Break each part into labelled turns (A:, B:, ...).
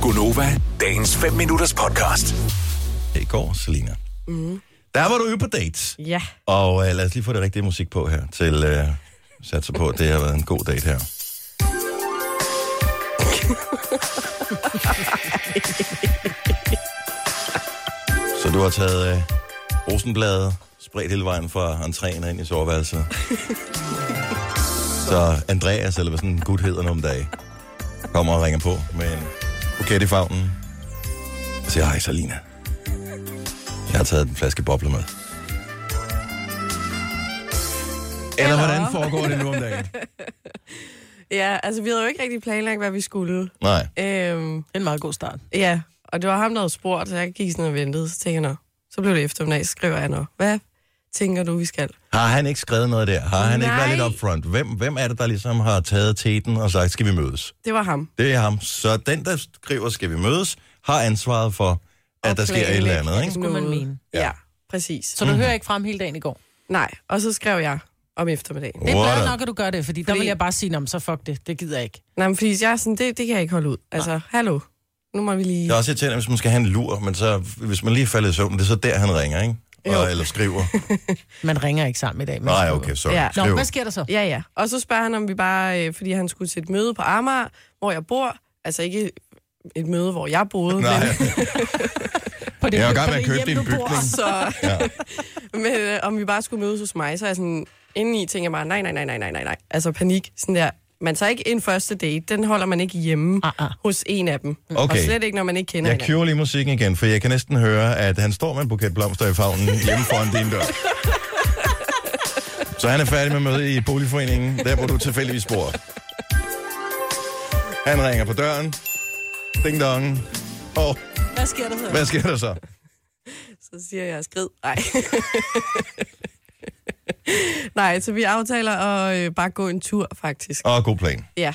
A: Gunova, dagens 5 minutters podcast.
B: i går, Selina. Mm. Der var du ude på dates.
C: Ja.
B: Og øh, lad os lige få det rigtige musik på her, til øh, satser på, at det har været en god date her. Så du har taget øh, rosenbladet, spredt hele vejen fra entréen og ind i soveværelset. Så Andreas, eller hvad sådan en gut hedder nogle dage, kommer og ringer på med en buket i favnen. Og siger, hej Salina. Jeg har taget en flaske bobler med. Eller hvordan foregår det nu om dagen?
C: Ja, altså vi havde jo ikke rigtig planlagt, hvad vi skulle.
B: Nej.
C: Øhm,
D: En meget god start.
C: ja, og det var ham, der havde spurgt, så jeg gik sådan og ventede. Så tænkte jeg, nå, så blev det eftermiddag, så skriver jeg, nå, hvad tænker du, vi skal?
B: Har han ikke skrevet noget der? Har han Nej. ikke været
C: Nej.
B: lidt upfront? Hvem, hvem er det, der ligesom har taget teten og sagt, skal vi mødes?
C: Det var ham.
B: Det er ham. Så den, der skriver, skal vi mødes, har ansvaret for, at
C: Og
B: der sker et
C: planlægge.
B: eller andet, ikke?
D: skulle man
C: Noget.
D: mene.
C: Ja,
B: Ja.
C: ja præcis.
D: Så
C: Så...
B: Mhm.
D: du hører ikke frem hele dagen i går.
C: Nej, og så skrev jeg om eftermiddagen.
D: Det er
B: What
D: glad
B: a-
D: nok, at du gør det, fordi, der
C: Fordi-
D: vil jeg bare sige, "Nå, men så fuck det, det gider jeg ikke.
C: Nej, men fordi jeg er sådan, det, det kan jeg ikke holde ud. Altså, hallo, nu må vi lige...
B: Det er også irriterende, hvis man skal have en lur, men så, hvis man lige falder i søvn, det er så der, han ringer, ikke?
C: Jo.
B: Og, eller skriver.
D: Man ringer ikke sammen i dag. man
B: Nej,
D: skriver.
B: okay, sorry.
C: Ja.
B: Ja.
C: Nå,
D: Nå,
B: Skriver.
D: hvad sker der så?
C: Ja, ja. Og så spørger han, om vi bare, øh, fordi han skulle til et møde på Amager, hvor jeg bor. Altså ikke et møde, hvor jeg boede,
B: Nej,
C: men
D: På det,
B: Jeg er jo i
D: på
B: gang med
D: det
B: at købe
D: hjem,
B: din
D: du bor.
B: bygning.
C: Så, ja. men øh, om vi bare skulle mødes hos mig, så er jeg sådan, indeni tænker jeg bare, nej, nej, nej, nej, nej, nej, nej. Altså panik, sådan der. Man tager ikke en første date, den holder man ikke hjemme
D: Ah, ah.
C: hos en af dem.
B: Okay.
C: Og slet ikke, når man ikke kender
B: jeg
C: hinanden.
B: kører lige musikken igen, for jeg kan næsten høre, at han står med en buket blomster i favnen hjemme foran din dør. Så han er færdig med mødet i boligforeningen, der hvor du tilfældigvis bor. Han ringer på døren. Ding dong. Og
D: Hvad sker der så?
B: hvad sker der så?
C: Så siger jeg, skrid. Nej. nej, så vi aftaler at øh, bare gå en tur, faktisk.
B: Åh, god plan.
C: Ja.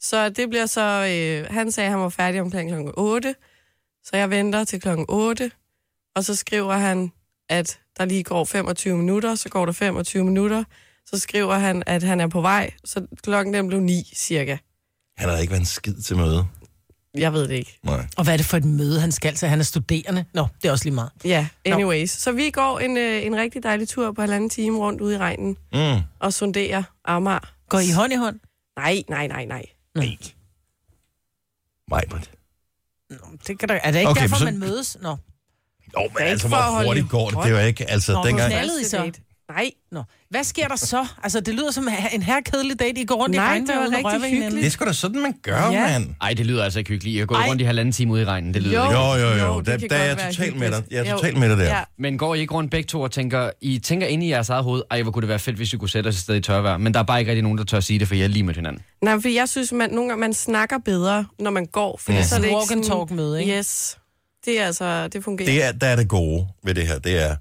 C: Så det bliver så... Øh, han sagde, at han var færdig omkring kl. 8. Så jeg venter til kl. 8. Og så skriver han, at der lige går 25 minutter. Så går der 25 minutter. Så skriver han, at han er på vej. Så klokken den blev 9 cirka.
B: Han har ikke været en skid til møde.
C: Jeg ved det ikke.
B: Nej.
D: Og hvad er det for et møde, han skal til? Han er studerende. Nå, det er også lige meget.
C: Ja, anyways. Så vi går en, øh, en rigtig dejlig tur på halvanden time rundt ude i regnen
B: Mm.
C: og sonderer Amager.
D: Går I hånd i hånd?
C: Nej, nej, nej, nej.
B: Nej. Majbert.
D: Nå, det kan der... Er det ikke
B: Okay,
D: okay, derfor,
B: så-
D: så... man mødes? Nå.
B: Jo, men
C: er
B: altså,
C: ikke for at
B: hvor
C: holde
B: hurtigt
C: i
B: går det? Det
C: hånd.
B: er jo ikke, altså,
D: Nå, hvor
B: dengang...
D: snæ- Knaldede I
C: Første
D: så?
C: date. Nej,
D: Nå. Hvad sker der så? Altså, det lyder som en herkedelig date. I går rundt
C: Nej,
D: i
C: det
D: regnvejr
C: var
D: uden at
C: rigtig
D: røre ved hinanden.
B: Det er sgu da sådan, man gør,
D: Ja.
B: mand.
E: Ej, det lyder altså ikke hyggeligt. Jeg går
D: Ej.
E: rundt i halvanden time ude i regnen. Det lyder
C: Jo.
B: Jo,
E: jo.
B: jo, jo.
C: Jo, det
B: der,
C: kan
B: der er jeg
C: godt være
B: totalt med dig.
C: hyggeligt.
B: Jeg er
C: Jo.
B: totalt med dig der.
C: Ja.
E: Men går I ikke rundt begge to og tænker, I tænker inde i jeres eget hoved, ej, hvor kunne det være fedt, hvis I kunne sætte os et sted i tørvejr. Men der er bare ikke rigtig nogen, der tør sige det, for jeg er lige mødt hinanden.
C: Nej, for jeg synes, man, nogle gange man snakker bedre, når man går. For
B: Ja.
C: ja. så er det
D: Sådan
C: ikke
D: walk and talk møde, ikke?
C: Yes. Det er altså, det fungerer.
B: Det er, der er det gode ved det her, det er,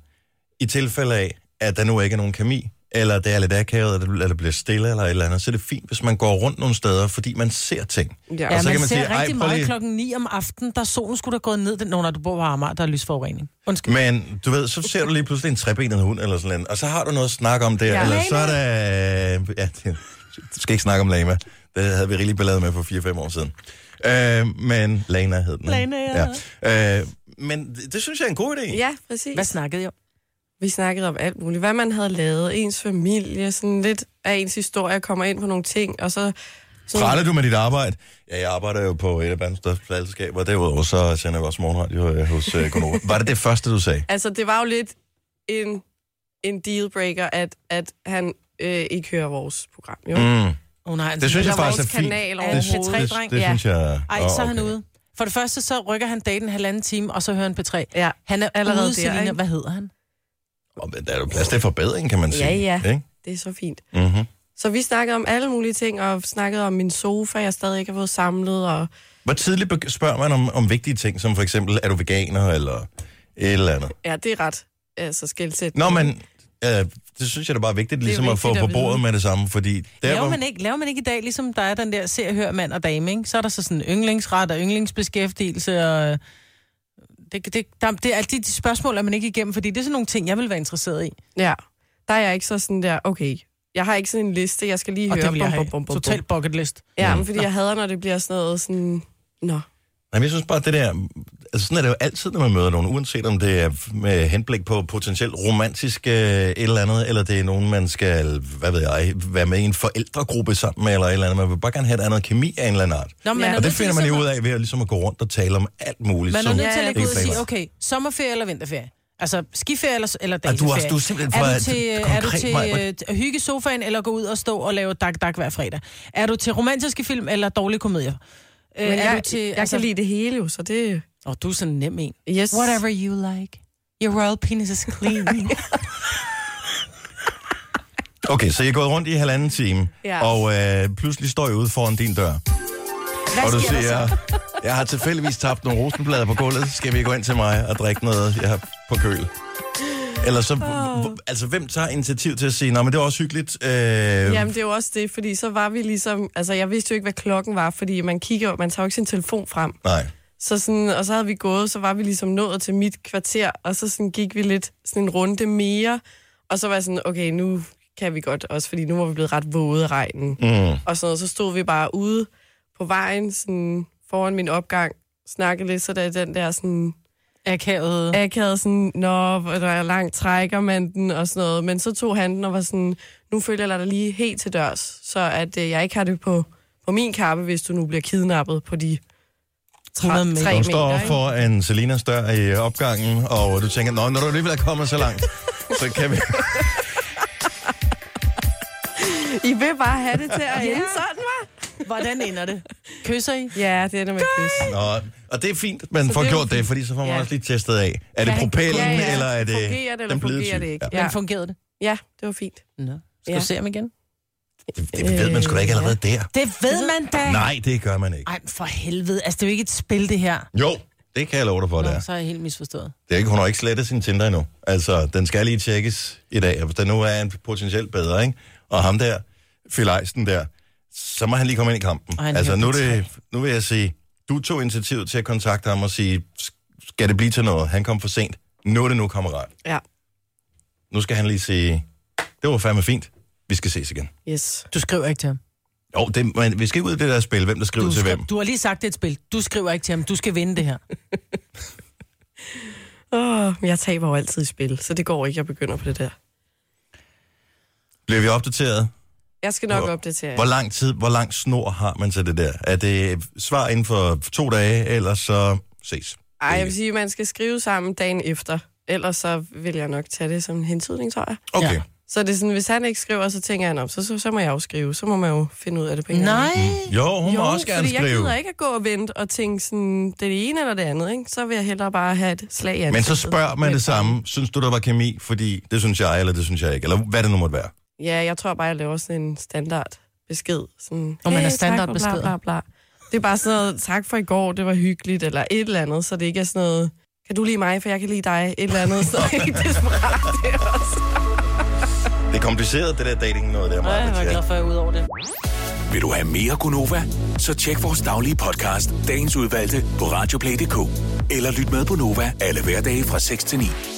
B: i tilfælde af, at der nu ikke er nogen kemi, eller det er lidt akavet, eller eller det bliver stille, eller et eller andet, så er det fint, hvis man går rundt nogle steder, fordi man ser ting.
C: Ja.
D: Ja,
B: Og så
D: man,
B: kan man
D: man ser
B: sige, "Ej,
D: sige, rigtig
B: prøv lige-"
D: meget klokken 9 om aftenen, der er solen skulle da gået ned. Den, Nå, når du bor på Amager, der er lysforurening. Undskyld.
B: Men du ved, så ser du lige pludselig en trebenet hund, eller sådan noget, og så har du noget at snakke om der, ja.
C: Ja.
B: eller så er der... Ja, det, du skal ikke snakke om lama. Det havde vi rigeligt ballade med for 4-5 år siden. Øh, men Lana hed den. ikke?
D: Lana, ja.
B: ja. Øh, men det, det synes jeg er en god idé.
C: Ja, præcis.
D: Hvad snakkede I om?
C: Vi snakkede om alt muligt. Hvad man havde lavet, ens familie, sådan lidt af ens historie, kommer ind på nogle ting, og så... så
B: Trætter du med dit arbejde? Ja, jeg arbejder jo på et af verdens største pladselskaber, og derudover så sender jeg også morgenradio øh, hos øh, Gunova. Var det det første, du sagde?
C: Altså, det var jo lidt en, en dealbreaker, at, at han øh, ikke hører vores program, jo. Mm.
B: Mm.
D: Oh, nej, han-
B: Det synes jeg
C: Eller
B: faktisk er
C: vores
B: fint.
C: kanal
B: Det-
C: overhovedet.
B: det, det, det
D: Ja.
B: synes jeg...
D: Ej,
B: Åh,
D: så er han
B: okay.
D: ude. For det første, så rykker han daten en halvanden time, og så hører han P3.
C: Ja,
D: Han er
C: Allerede
D: allerede
C: der,
D: ude, Selina.
C: ikke?
D: Hvad hedder han?
B: Åh, men der er jo plads til forbedring, kan man sige.
C: ja.
B: Ikke?
C: det er så fint.
B: Mm-hmm.
C: Så vi snakkede om alle mulige ting, og snakkede om min sofa, jeg stadig ikke har fået samlet, og
B: Hvor tidligt beg- spørger man om, om vigtige ting, som for eksempel, er du veganer eller et eller andet?
C: ja, det er ret altså, skældsæt.
B: Nå, men øh, det synes jeg da bare er vigtigt,
C: er
B: ligesom at
C: vigtigt
B: få
C: at
B: på
C: vide.
B: bordet med det samme, fordi der,
D: Laver
B: hvor
D: man, ikke, laver man ikke i dag, ligesom der er den der se og hør mand og dame, ikke? Så er der så sådan yndlingsret og yndlingsbeskæftigelse, og øh, det, det, der, det er de, de spørgsmål, er man ikke igennem, fordi det er sådan nogle ting, jeg vil være interesseret i.
C: Ja, der er jeg ikke så sådan der, okay, jeg har ikke sådan en liste, jeg skal lige
D: Og
C: høre.
D: det vil jeg
C: bum,
D: have.
C: bum, bum, bum, bum.
D: Total bucket list.
C: Ja, men fordi jeg hader, når det bliver sådan noget sådan, nå,
B: Jamen, jeg synes bare, det der... Altså, sådan er det jo altid, når man møder nogen, uanset om det er med henblik på potentielt romantisk øh, et eller andet, eller det er nogen, man skal, hvad ved jeg, være med i en forældregruppe sammen med, eller et eller andet. Man vil bare gerne have et andet kemi af en eller anden art.
D: Nå,
C: Ja.
D: er
C: Og
B: Og
D: nødt
B: det
D: til
B: finder man jo
D: ligesom
B: ud af ved at, ligesom at gå rundt og tale om alt muligt.
D: Man er
B: som
D: nødt til
C: Ja,
D: at lægge ud og
B: ikke
D: sige,
B: planlagt.
D: okay, sommerferie eller vinterferie? Altså skiferie eller, eller
B: Ah, du er
D: dataferie?
B: også- du er simpelthen for-
D: er du
B: det-
D: til, øh,
B: det-
D: er du
B: konkret,
D: til
B: Maja.
D: øh, hygge i sofaen, eller gå ud og stå og lave dak dak hver fredag? Er du til romantiske film eller dårlige komedier? Øh,
C: Men
D: er
C: jeg,
D: du til,
C: jeg kan lide det hele jo, så det...
D: Åh, oh, du er sådan en nem en.
C: Yes.
D: Whatever you like. Your royal penis is clean.
B: Okay, så jeg er gået rundt i halvanden time,
C: Ja.
B: og øh, pludselig står jeg ude foran din dør. og du
D: sker der
B: siger, jeg har tilfældigvis tabt nogle rosenblader på gulvet, skal vi gå ind til mig og drikke noget, jeg har på køl? Eller så, oh. altså hvem tager initiativ til at sige, nej, men det var også hyggeligt. Øh,
D: Øhm.
C: Jamen, det er jo også det, fordi så var vi ligesom... Altså, jeg vidste jo ikke, hvad klokken var, fordi man kigger jo- man tager jo ikke sin telefon frem.
B: Nej.
C: Så sådan, og så havde vi gået, så var vi ligesom nået til mit kvarter, og så sådan gik vi lidt sådan en runde mere, og så var jeg sådan, okay, nu kan vi godt også, fordi nu var vi blevet ret våde af regnen.
B: Mm.
C: Og sådan noget, så stod vi bare ude på vejen, sådan foran min opgang, snakkede lidt, så der er den der sådan
D: Akavet.
C: akavet sådan, nå, hvor der er langt trækker man den og sådan noget. Men så tog han den og var sådan, nu følger jeg dig lige helt til dørs, så at øh, jeg ikke har det på, på min kappe, hvis du nu bliver kidnappet på de
D: 100
C: tre,
D: meter.
C: tre
B: Hun
C: meter.
B: står
C: ikke?
B: for en Selinas dør i opgangen, og du tænker, nå, når du alligevel er kommet så langt, så kan vi...
C: I vil bare have det til at ende sådan, var?
D: Hvordan ender det? Kysser I?
C: Ja, det ender med et kys.
B: Nå, og det er fint, at man får
C: det er jo
B: gjort det,
C: fint.
B: fordi så får man
C: Ja.
B: også lige testet af. Er det
D: Ja.
B: propellen,
C: Ja, ja.
B: eller er det
C: Fungerer det, eller
B: den blide
C: fungerer
B: type?
C: det ikke?
B: Ja.
D: Ja. Men fungerede det?
C: Ja, det var fint.
D: Nå. Skal
C: Ja.
D: du se ham igen?
B: Det, det ved man sgu da
D: Øh,
B: ikke allerede der.
D: Det ved man da.
B: Nej, det gør man ikke.
D: Ej, men for helvede. Altså, det er jo ikke et spil, det her.
B: Jo, det kan jeg love dig for, det
D: Nå,
B: er.
D: så er jeg helt misforstået.
B: Det er ikke, hun har ikke slettet sin Tinder endnu. Altså, den skal lige tjekkes i dag. Hvis der nu er en potentielt bedre, ikke? Og ham der, Phil Eisen der, så må han lige komme ind i kampen.
D: Og han
B: altså,
D: hæver
B: nu, er
D: på
B: det, nu vil jeg sige, du tog initiativ til at kontakte ham og sige, "Sk- skal det blive til noget? Han kom for sent. Nu er det nu, kammerat.
C: Ja,
B: Nu skal han lige sige, det var fandme fint. Vi skal ses igen.
C: yes.
D: Du skriver ikke til ham.
B: Jo, det, men vi skal ikke ud i det der spil, hvem der skriver
D: Du,
B: til
D: skal,
B: hvem.
D: du har lige sagt, det er et spil. Du skriver ikke til ham. Du skal vinde det her.
C: Åh, men jeg taber jo altid i spil, så det går ikke, jeg begynder på det der.
B: Bliver vi opdateret?
C: Jeg skal nok
B: Hvor-
C: opdatere jer.
B: Hvor lang tid, hvor lang snor har man til det der? Er det svar inden for to dage, eller så ses?
C: Ej, jeg vil sige, at man skal skrive sammen dagen efter. Ellers så vil jeg nok tage det som en hentydning, tror jeg.
B: Okay.
D: Ja.
C: Så det er sådan, hvis han ikke skriver, så tænker han om, så, så, så må jeg jo skrive. Så må man jo finde ud af det på en eller anden
D: Nej.
B: Jo, hun jo, må
C: Jo,
B: også gerne
C: fordi jeg
B: skrive.
C: gider ikke at gå og vente og tænke sådan, det er det ene eller det andet, ikke? Så vil jeg hellere bare have et slag i
B: Men så
C: ansigtet.
B: spørger man det samme. Synes du, der var kemi? Fordi det synes jeg, eller det synes jeg ikke. Eller hvad det nu måtte være.
C: Ja, jeg tror bare, jeg laver sådan en standard besked. Sådan,
D: Og man er
C: "Hey,
D: standardbesked."
C: Tak, for bla, bla, bla. Det er bare sådan noget, tak for i går, det var hyggeligt, eller et eller andet, så det ikke er sådan noget, kan du lide mig, for jeg kan lide dig, et eller andet, så ikke desperat. Det er også.
B: Det er kompliceret, det der dating noget der.
D: Nej, jeg var
B: Maja.
D: glad for, at jeg er ude over det.
A: Vil du have mere Gunova? Så tjek vores daglige podcast, dagens udvalgte, på radioplay.dk. Eller lyt med på Nova alle hverdage fra 6 til 9.